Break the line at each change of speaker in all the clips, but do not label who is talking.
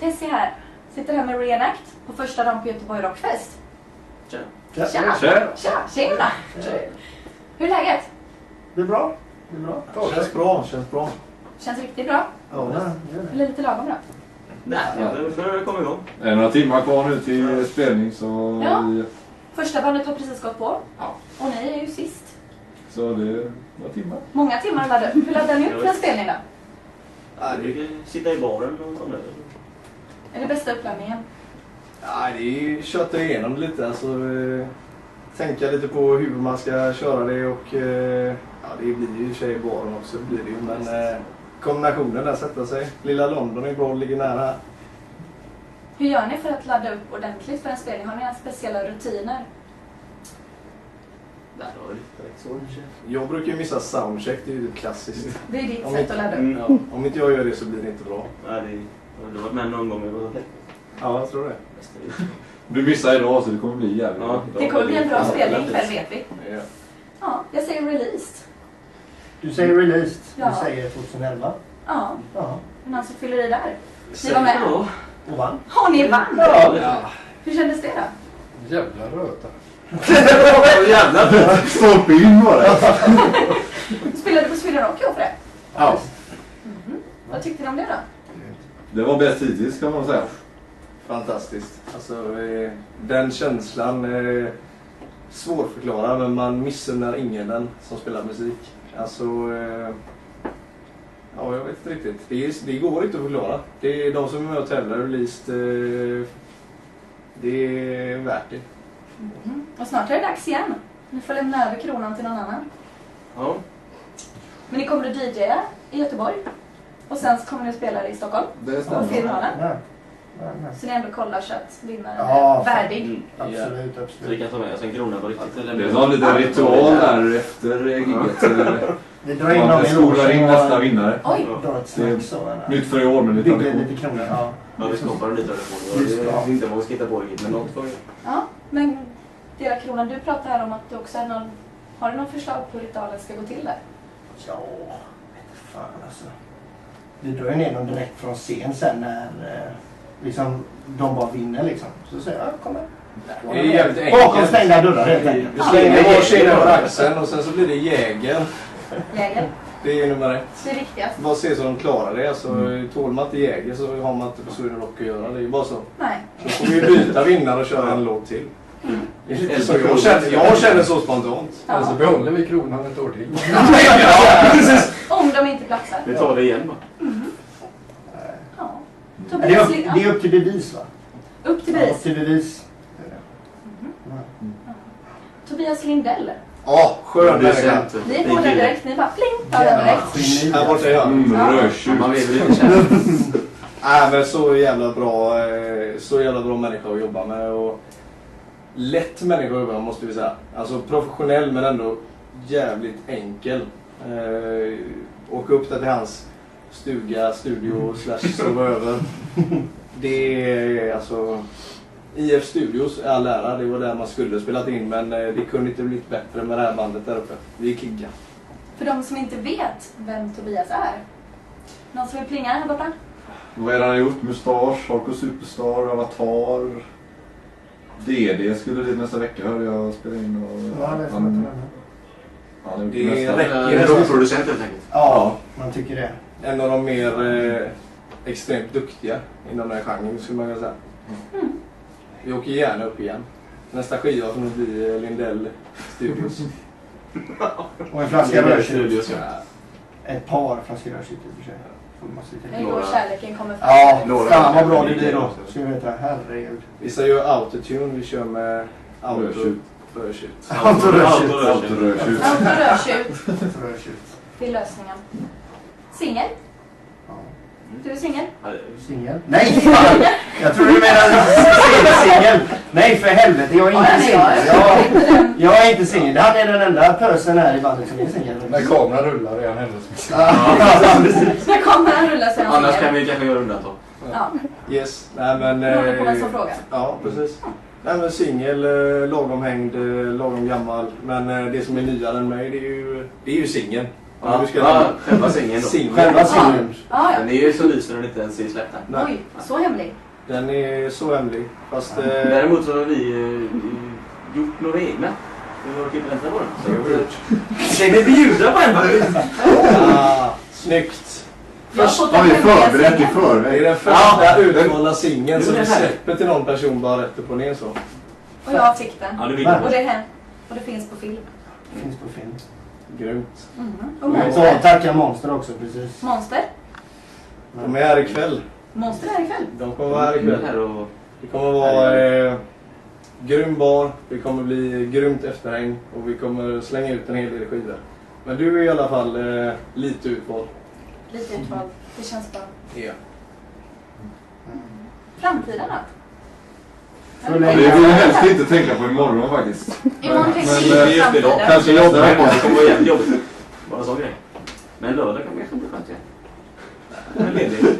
Tessie här. Sitter här med Reenact på första dagen på Göteborg Rockfest.
Ja,
Tja!
Tja!
Tja! Tjena! Hur är läget?
Det är bra. Det är bra.
Ja,
känns bra. Känns bra.
Känns riktigt bra.
Ja, det gör det.
Eller lite lagom bra.
Nej, det börjar det komma igång.
Det är några timmar kvar nu till spelning så,
Ja.
vi,
Första bandet har precis gått på.
Ja.
Och ni är ju sist.
så det är några timmar.
Många timmar laddade upp. Hur laddar ni upp för en spelning då?
Ja,
Vi
det,
brukar sitta i baren och ta en öl.
Är det bästa uppladdningen?
ja, det är ju kötta igenom lite. Alltså, eh, tänka lite på hur man ska köra det och eh, ja, det blir ju i och för sig i baren också. Blir det ju, men eh, kombinationen där sätter sig. Lilla London är bra, ligger nära.
Hur gör ni för att ladda upp ordentligt för en spelning? Har ni några speciella rutiner?
Där har vi lite så kanske.
Jag brukar ju missa soundcheck, det är ju klassiskt.
Det är ditt
Ja,
sätt att ladda upp.
Mm.
Ja, om inte jag gör det så blir det inte bra.
Nej, det, jag har varit med någon gång. men Det var
Ja, jag tror det.
Du missar idag så det kommer bli jävligt
Ja.
bra.
Det kommer bli en bra
Ja,
spelning ikväll
precis.
vet vi.
Ja.
Ja, jag säger released.
Du säger released.
Ja.
Du säger 2011.
Ja,
Ja.
men alltså fyller i där. Ni
Säg
var med.
då.
Och vann.
Ja, ni vann!
Ja,
Hur kändes det då?
Jävla röta.
Åh, jävlar!
Stolpe in bara!
Spelade på Sweden Rock i år för det. Mhm.
Ja.
Vad tyckte ni om det då?
Det var bäst hittills kan man säga.
Fantastiskt. Alltså, eh, den känslan, eh, svårförklarad men man missunnar ingen den som spelar musik. Alltså, eh, ja jag vet inte riktigt. Det, är, det går inte att förklara. Det är de som är med och tävlar och released, eh, det är värt det.
Mhm. Och snart är det dags igen. Ni får lämna över kronan till någon annan.
Ja,
Men ni kommer att DJa i Göteborg. Och sen så kommer ni att spela det i Stockholm.
Det
På
stämmer.
finalen.
Nej. Nej, nej.
Så ni ändå kollar så att vinnaren
Ja,
är värdig.
mm.
Absolut,
så vi
absolut.
kan ta med oss en krona på riktigt.
Det är någon liten ritual där efter giget. eh,
Vi drar in någon
Man
i
skolar in nästa
logen
vinnare.
Oj!
och drar ett snack så. va?
Nytt för i år men det är
Bygger
tradition.
lite kronor. Ja.
Ja, vi skapar en liten relation. Det är inte vad vi ska hitta på riktigt, men något får vi.
Ja, men Dela Kronan, du pratade här om att du också har någon... Har du någon förslag på hur ritualen ska gå till där?
Ja, vete fan alltså. Vi drar ju ner dem direkt från scen sen när eh, liksom, de bara vinner liksom. Så säger jag, "Ja, kom här.
Det är jävligt enkelt.
Bakom stängda dörrar helt enkelt.
Vi slänger varsin över axeln och sen så blir det jägern.
Läger?
Det är nummer ett.
Det är viktigast?
Bara se så de klarar det. Alltså, Tål man inte jäger så har man inte på Sweden Rock att göra. Det är bara så.
Nej.
Då får vi byta vinnare och köra en låt till. Det är lite så
Elfenbenskull.
jag, känner, jag känner så spontant.
Ja.
Eller så behåller vi kronan ett år till.
Om de inte platsar.
Vi tar det igen bara.
Ja.
Men Det är,
Tobias,
upp, det är upp till bevis va?
upp till
Ja, upp
bevis.
till bevis.
Tobias Lindell.
Ja, skön människa.
Ni är på den direkt. Ni bara pling, tar den direkt.
Geni.
Här borta är jag.
Mm,
Ja.
Rödtjut.
Man lever i en kärlek.
Nej men så jävla bra, eh, så jävla bra människa att jobba med. Och lätt människa att jobba med måste vi säga. Alltså professionell men ändå jävligt enkel. Eh, åka upp där till hans stuga, studio, slash sova över. Det är alltså... IF Studios är all ära, det var där man skulle spelat in men eh, det kunde inte blivit bättre med det här bandet där uppe. Vi klickade.
För de som inte vet vem Tobias är. Någon som vill plinga här borta?
Vad är det han har gjort? Mustasch, Harko Superstar, Avatar. DD skulle dit nästa vecka hörde jag spela in. Och
Ja, det får man
han,
inte lämna.
han har gjort
Det
nästa.
räcker.
En rockproducent helt enkelt.
Ja, man tycker det.
En av de mer eh, extremt duktiga inom den här genren skulle man kunna säga. Vi åker gärna upp igen. Nästa skiva kommer att bli eh, Lindell Studios.
Och en flaska rödtjut.
Studios, ja.
Ett par flaskor rödtjut i och för sig. Får man se till.
Hur går
Några.
kärleken kommer fram?
Ja,
Några.
fan vad bra det blir då. Ska vi veta, herregud.
vi säger ju autotune, vi kör med auto
Rödtjut.
förtjut.
Autorödtjut.
Allt rödtjut.
Allt och rödtjut.
Rödtjut.
Det är lösningen. Singel?
Ja.
Du är singel?
Singel? Nej! fan! Jag tror du menar singel. Nej för helvete, jag är
Ja,
inte
nej,
singel.
jag
Jag,
är inte den.
jag är inte singel. Han är den enda personen här i bandet som är singel.
När kameran rullar är han hennes.
När kameran rullar så är han
Annars kan
singel.
vi kanske göra undantag.
Ja,
Yes, nej men... eh,
beroende på vem som frågar.
Ja, precis. Nej men singel, eh, lagom hängd, eh, lagom gammal. Men eh, det som är nyare än mig det är ju, det är ju singeln. Ja, du ska-
ja, själva sängen då.
Singel.
Själva singlen.
Ah, ja. Mm.
Den är ju så lyser den inte ens i släkten.
Nej.
Oj, så hemlig.
Den är så hemlig. Fast... Eh,
Däremot så har vi eh, gjort några egna. Vi orkar inte vänta på den. Så
Det har vi
att, eh, Känner vi bjudna på en?
ah, snyggt!
Jag
Först
fått
Har vi
den hemliga
förberett i
sängen.
Det är
förväg?
den första
Ja,
utvalda singeln som
Nu är
vi
det här.
släpper till någon person bara rätt upp och ner så.
Och jag fick den.
Ja, det vill
Va?
jag.
Och det, här- och det finns på film.
Finns på film.
Grymt.
Mm. Och
Och jag
Monster.
får tacka Monster också precis.
Monster.
De är här ikväll.
Monster är ikväll.
De kommer vara här ikväll.
Här och...
Det kommer vara eh, grym bar, det kommer bli grymt efterhäng och vi kommer slänga ut en hel del skivor. Men du är i alla fall eh, lite utvald.
Lite utvald. Det känns bra.
Ja.
Framtiden då?
Får
Vi
lägga-
vill ju helst inte tänka på imorgon faktiskt.
Imorgon kan
Men,
vi
eh,
se framtiden.
Kanske jobba
Nej,
imorgon.
Det kommer vara jävligt jobbigt. Bara sån grej. Men lördag kan kanske bli skönt igen. Jag är ledig.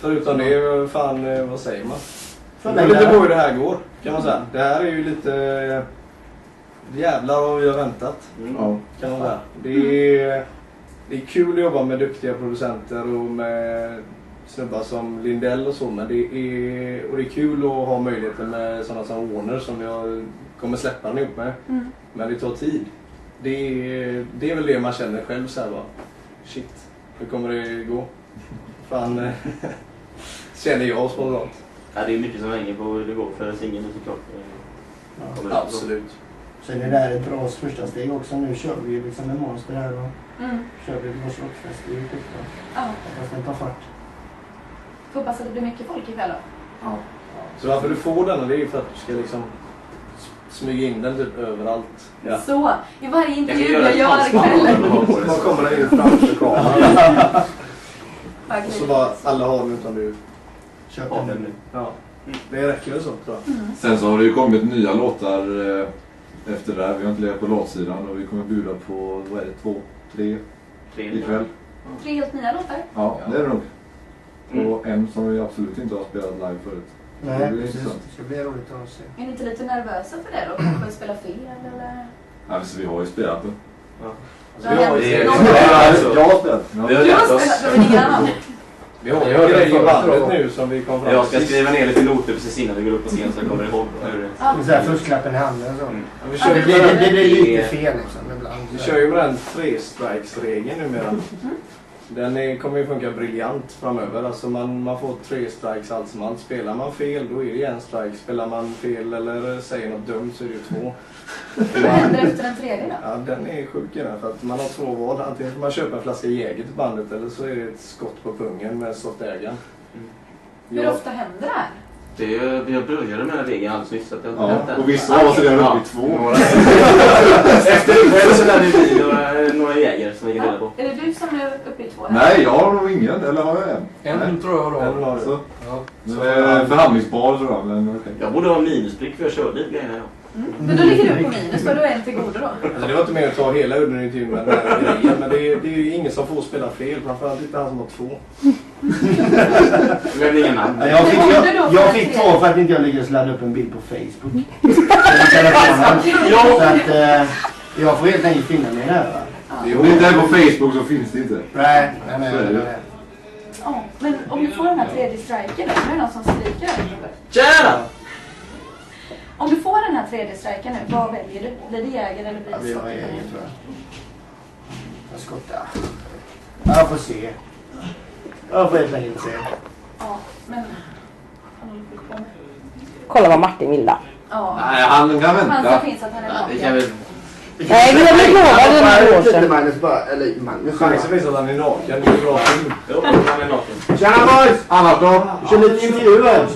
Förutom det, fan eh, vad säger man? Det beror
Förlängda.
lite på hur det här går kan man säga. Det här är ju lite... Eh, jävlar vad vi har väntat.
Mm.
Ja.
kan man säga. Det är, det är kul att jobba med duktiga producenter och med snubbar som Lindell och så. Men det är, och det är kul att ha möjligheten med sådana som Warner som jag kommer släppa den ihop med.
Mm.
Men det tar tid. Det är, det är väl det man känner själv så här bara. Shit, hur kommer det gå? Fan, eh, känner jag spontant.
Ja, det är mycket som hänger på hur det går för singeln såklart. Eh,
Ja.
Kommer ut.
Absolut.
Sen är det här ett bra första steg också. Nu kör vi ju liksom med Monster här och
Mm.
kör vi vår rockfest. Det är ju skitbra.
Ja.
Hoppas den tar fart.
Hoppas att det blir mycket folk ikväll då.
Så varför du får denna det är ju för att du ska liksom s- smyga in den typ överallt.
Så, i varje
Jag kan
intervju
göra
jag
ett
gör ikväll.
halsband.
Man kommer den ju framför kameran.
Vad
Och så
grymt.
bara alla har den utan du.
Köp
Ja,
den
men-
nu.
Ja. Det räcker väl så tror jag.
Sen så har det ju kommit nya låtar eh, efter det här. Vi har inte legat på låtsidan och vi kommer bjuda på, vad är det, två, tre ikväll?
Tre helt nya låtar.
Ja, det är det nog.
Mm.
Och en som vi absolut inte har spelat live förut. Det
Nej,
blir
precis.
intressant.
Det ska bli roligt att se.
Är ni inte lite nervösa för det då? Kanske spela fel eller?
Nej, men så vi har ju spelat den.
Det har
det är-
hänt någon-
Ja, alltså.
Jag har spelat den.
Vi
Ja.
har
Du
lärt
har
oss.
spelat med annan.
Vi har
Jag hörde
grejer i
förut,
bandet
då.
nu som vi kom fram
Jag ska skriva ner lite noter precis innan vi går upp på scen så jag kommer ihåg hur det
Ja.
Så här, Fusklappen i handen och så.
Mm.
Ja, Vi
Ja,
kör ju
Det
med
blir,
den,
det blir lite
Det-
fel liksom ibland.
vi kör ju med den tre strikes regeln numera. Den är, kommer ju funka briljant framöver. Alltså man, man får tre strikes allt som allt. Spelar man fel då är det en strike. Spelar man fel eller säger något dumt så är det ju två.
Vad händer efter den tredje då?
Ja, den är sjuk i den för att man har två val. Antingen får man köpa en flaska Jäger till bandet eller så är det ett skott på pungen med sottägaren.
Mm.
Hur ofta händer det här?
Det är ju, vi har börjat med den regeln alldeles nyss så att det har inte hänt
Ja,
än.
och vissa av oss är redan
Ja.
uppe i två.
Några- Efter ikväll så lär det bli några, några jägare som vi kan dela på.
Ja, Är det du som är uppe i två? här?
Nej, jag har nog ingen. Eller har jag en? Nej.
En tror jag
En
har.
har du.
Alltså. Så,
Ja.
men, eh, förhandlingsbar tror jag, men okej.
Jag borde ha minusprick för jag körde lite grejerna idag.
Mm. Men då ligger du på minus, för du är en till godo då?
Alltså det var inte mer att ta hela udden i timmen, den här grejen, men det är, det är ju ingen som får spela fel. Framförallt inte han som har två.
Jag nämner inga namn.
Ja, Jag fick,
Men om du då
jag, jag
får
fick
se-
ta för att inte jag lyckades ladda upp en bild på Facebook. Så jag kan inte ha den.
Ja.
Så att eh, jag får helt enkelt finna mig där va.
Om det inte är på Facebook så finns det inte.
Nej, nej, nej.
Så är det.
nej, nej.
Ja, men om du får den här tredje striken då, nu är det någon som skriker här utanför.
Tjena!
Om du får den här tredje striken nu, vad väljer du? Blir det jäger eller blir
Ja,
det
vi har
skott?
egen tror jag. Jag skottar. Ja, Jag får se. Jag får helt enkelt se.
Ja, men... Han håller på med.
Kolla vad Martin vill då.
Ja,
Nej, han kan
chansen
vänta.
finns att han är
Det
naken.
kan väl...
Nej, vi har blivit lovade
Bara
det
ut
några år
lite
sedan.
Magnus bara. Eller Magnus.
Chansen finns att han är naken. Det är bra film.
Jo, han är naken.
Tjena boys!
Annars då?
Vi kör lite intervjuer.
Ja,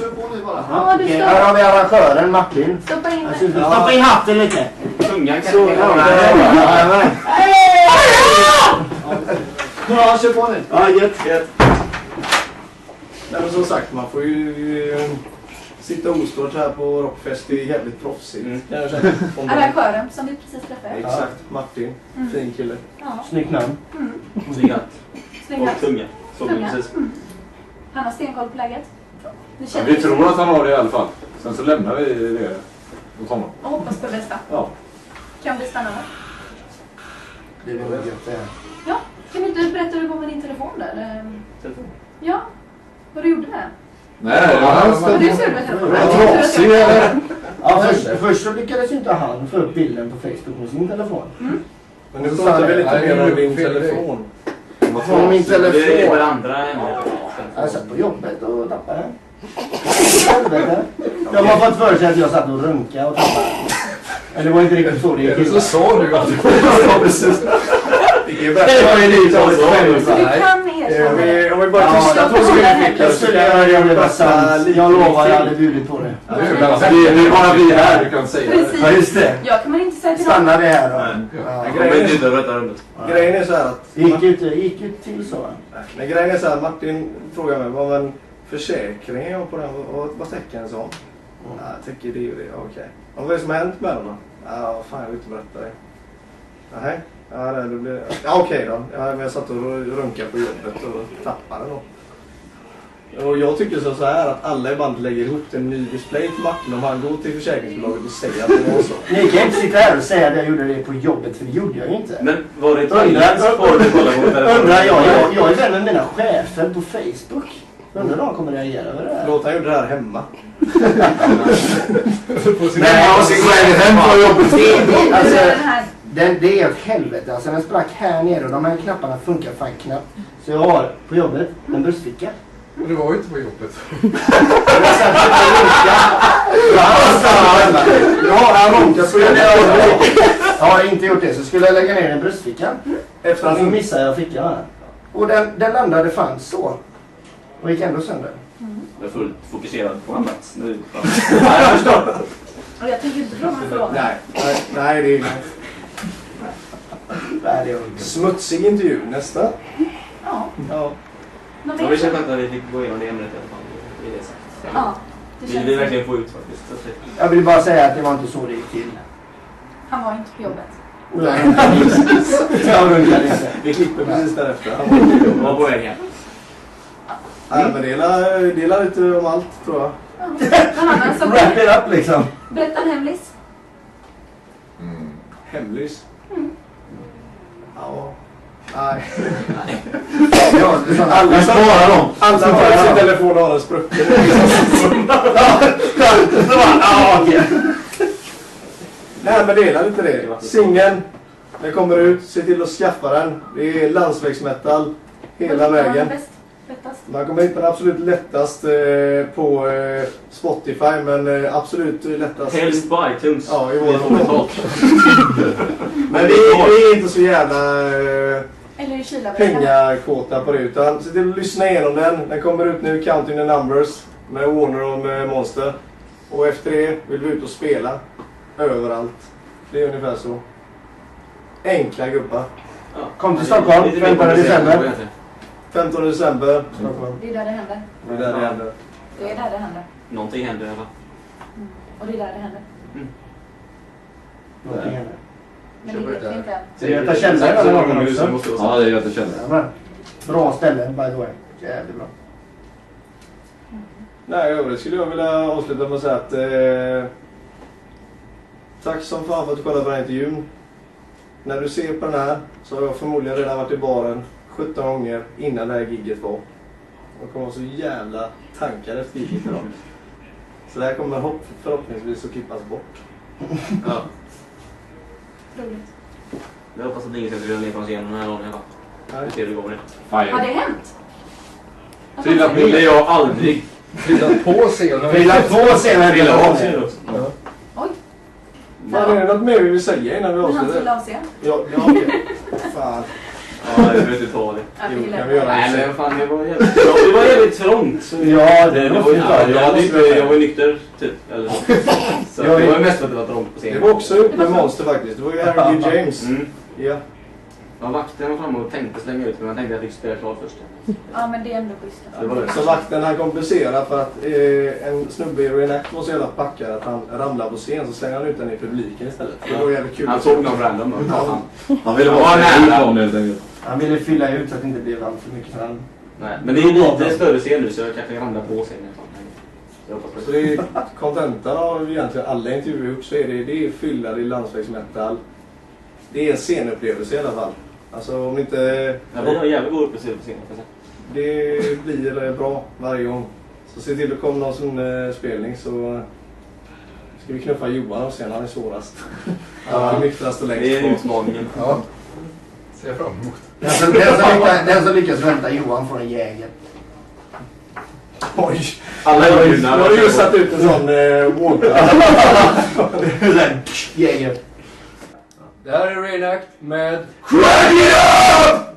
du
Okej,
ska-
Här har vi arrangören Martin.
Stoppa in
Jag syns-
den.
Stoppa in hatten lite.
Tungan kanske...
Så, ja, där. Ja, ja.
Ja, kör på nu!
Ja, gött.
Nej, men som sagt, man får ju eh, sitta ostört här på rockfest. Det är jävligt proffsigt.
Mm.
Kan jag känna. Om det-
Arrangören som vi precis träffade.
Exakt. Martin.
Mm.
Fin kille.
Ja,
Snyggt namn.
Cigarett.
snygg
Och
hatt.
tunga. Så
Tunga.
precis.
Han har stenkoll på läget. Ni
Ja,
känner
vi tror att han har det i alla fall. Sen så lämnar vi det åt honom.
och hoppas på det bästa.
Ja.
Kan bli spännande.
Det är nog gött det här.
Ja, kan du inte berätta hur det går med din telefon där? Ehm,
Telefon.
Ja, vad du gjorde med
Nej, det var hans
den. Var du
telefon.
sur med telefonen?
Var den trasig eller?
Ja, först, först så lyckades ju inte han få upp bilden på Facebook med sin telefon.
Men nu
Och så
pratar
sa
vi
jag,
lite
nej,
mer om
det är
din
fel grej.
telefon.
Den var
Från min
trasig.
Det är
telefon.
varandra
Jag satt på jobbet och tappade den. Helvete. De har fått för sig att jag satt och runkade och tappade den. Men det var inte riktigt så det gick
Eller
till.
så sa du att du
Ja, precis. Det är
Det
värsta.
var ju ni som
Så
skämdes.
du kan erkänna det?
Eh, Om vi
Ja, jag tror
skulle
det
skicka
Jag skulle göra det om det var sant. Jag lovar, jag hade bjudit på det.
Det är ju bland
Det är det är bara vi här.
kan säga.
Precis.
Ja, just det.
Jag kan man inte säga till någon.
Stanna det här då.
Nej.
Ja.
Jag vet inte över detta rummet.
Grejen är så här att...
Det gick ju inte- det gick ju till så. va?
Men grejen är så här, Martin frågade mig, vad var en försäkring och på den, vad- vad, vad täcker en sån?
Mm.
Ja, jag täcker det och det, okej. Och vad är det som har hänt med den då? Ja, vad fan, jag vill inte berätta det. Nej, ja, det, det blir... Ja, okej då. Ja, men jag satt och runkade på jobbet och tappade den då. Och jag tycker så- så här att alla i bandet lägger ihop till en ny display till Martin om han går till försäkringsbolaget och säger att det var så.
Ni kan inte sitta här och säga att jag gjorde det på jobbet, för det gjorde jag ju inte.
Men var det ett
Undrar-
annat spår du kollade på?
Undrar jag, jag, jag är vän med mina chefer på Facebook. Undrar om de kommer reagera över det här.
Låt han gjorde det här hemma.
Nej, jag
ska gå hem från
Det är
jobbet.
det
Alltså-
den här.
Den, det är ett helvete alltså. Den sprack här nere och de här knapparna funkar fan knappt. Så jag har på jobbet en bröstficka.
Men du var ju inte på jobbet.
Nu har han runkat så jag Har jag inte gjort det så skulle jag lägga ner den i bröstfickan.
Efter
Och
att
så
han
missade jag fickan här. Och den, den landade fan så. Och gick ändå sönder.
Jag är fullt fokuserad på annat. Nu.
Nej, jag förstår.
Och jag tänker inte dra mig från det.
Nej, nej, nej, det är inget.
Nej, det är underbart.
Smutsig intervju. Nästa.
Ja,
Ja.
någon
Men vi
mer?
känner att vi fick gå igenom det ämnet i alla fall. Det är det sagt.
Ja, det
Vi vill
känns
verkligen få ut faktiskt. Så att det-
Jag vill bara säga att det var inte så det gick till.
Han var inte på jobbet.
Och jag runkade inte. Jag runkade inte.
Vi klipper precis därefter.
Vi var på väg hem.
Nej, men dela, dela lite om allt tror jag.
Ja. Någon annan som...
Wrap it up liksom.
Berätta en hemlis.
Mm.
Hemlis. Ja. Nej.
Ja, det är såna-
Alla
Vi
som
sparar dem.
alla som har sin telefon har en sprucken.
Ja, okej.
Nej men dela lite det. Singeln. Den kommer ut. Se till att skaffa den. Det är landsvägsmetall. Hela vägen.
Bäst, lättast.
Man kommer hitta den absolut lättast eh, på eh, Spotify men eh, absolut lättast.
Helst på iTunes.
Ja, i
Vi
våra
får betalt.
Men vi, vi är inte så jävla eh,
Eller i kylarväskan.
pengakåta på det utan se till att lyssna igenom den. Den kommer ut nu, Counting the Numbers med Warner och med Monster. Och efter det vill vi ut och spela överallt. Det är ungefär så. Enkla gubbar.
Ja.
Kom till Stockholm,
Lite mer
15 december.
komplicerat.
15 december.
Det är där det händer.
Det är där det händer.
Det är där det händer.
Någonting händer i alla fall.
Och det är där det händer.
Någonting händer.
Men det vet vi inte än.
Det är Göta källare
Så
eller
många
någon
hus,
också.
det måste vara så.
Ja, det är Göta källare.
Jajamän. Bra ställe by the way. Jävligt bra.
Nej, i övrigt skulle jag vilja avsluta med att säga att eh, Tack som fan för att du kollade på den här intervjun. När du ser på den här så har jag förmodligen redan varit i baren 17 gånger innan det här gigget var. Jag kommer vara så jävla tankad efter gigget idag. Så det här kommer hopp, förhoppningsvis att klippas bort.
Ja.
Roligt.
Jag hoppas att ingen ska trilla ner från scenen den här dagen i alla fall. Vi ser hur det går med det.
Har det
Fire.
hänt? Att
Trillat
man-
ner. Det är jag aldrig.
Trillat på scenen.
Vi lade två senare i
Trilla av
dag.
sig då.
Oj,
Fan, är det något mer vi vill säga innan vi
men han
avslutar?
trillade av sig.
Ja, ja okej. Fan.
Ja, jag vill inte ta det.
Ja,
Jo,
det
kan vi göra
Nej men fan det var jävligt trångt. Det var jävligt trångt. Så
Ja, det
det
var
var ju,
fint.
ja, jag, hade inte, jag var ju nykter typ. Eller så. så
Jag
det
är-
var ju mest för att det var trångt på
Det
scenen.
var också ihop med Monster faktiskt. Det var ju Harry G. James.
Mm.
Ja.
Ja, vakten var framme och tänkte slänga ut mig men jag tänkte att jag fick spela klart först.
Ja, men det är ändå schysst.
Så det var det.
Så vakten han kompensera för att eh, en snubbe i Reenact var så jävla packad att han ramlade på scen så slängde han ut den i publiken istället. Det var jävligt kul.
Han såg någon random och
Ja.
bara fan.
Han ville
Ja,
vara
nej, nej.
utan helt enkelt.
Han ville fylla ut så att det inte blev allt för mycket. Så han-
Nej, men det är ju lite större scen nu så jag kanske ramlar på scenen. Jag hoppas på
Så
det.
det är kontentan av egentligen alla intervjuer vi gjort så är det, det är fylla, det är landsvägsmetall. det är en scenupplevelse i alla fall. Alltså om inte...
Ja, vi har en jävligt god upplevelse på scenen. kan jag
Det blir eh, bra varje gång. Så se till att komma någon sån eh, spelning så eh, ska vi knuffa Johan och sen han är svårast. Han är nyktrast och
säga. Det
längst
är
bort.
utmaningen.
Ja. Ser jag fram emot.
Den som, den, som lyckas, den som lyckas vänta Johan från en jäger.
Oj!
Alla
Jag
är
har jag har just satt ut en sån eh, walkout.
Jäger.
Det här är Reenact med
Shrug it up!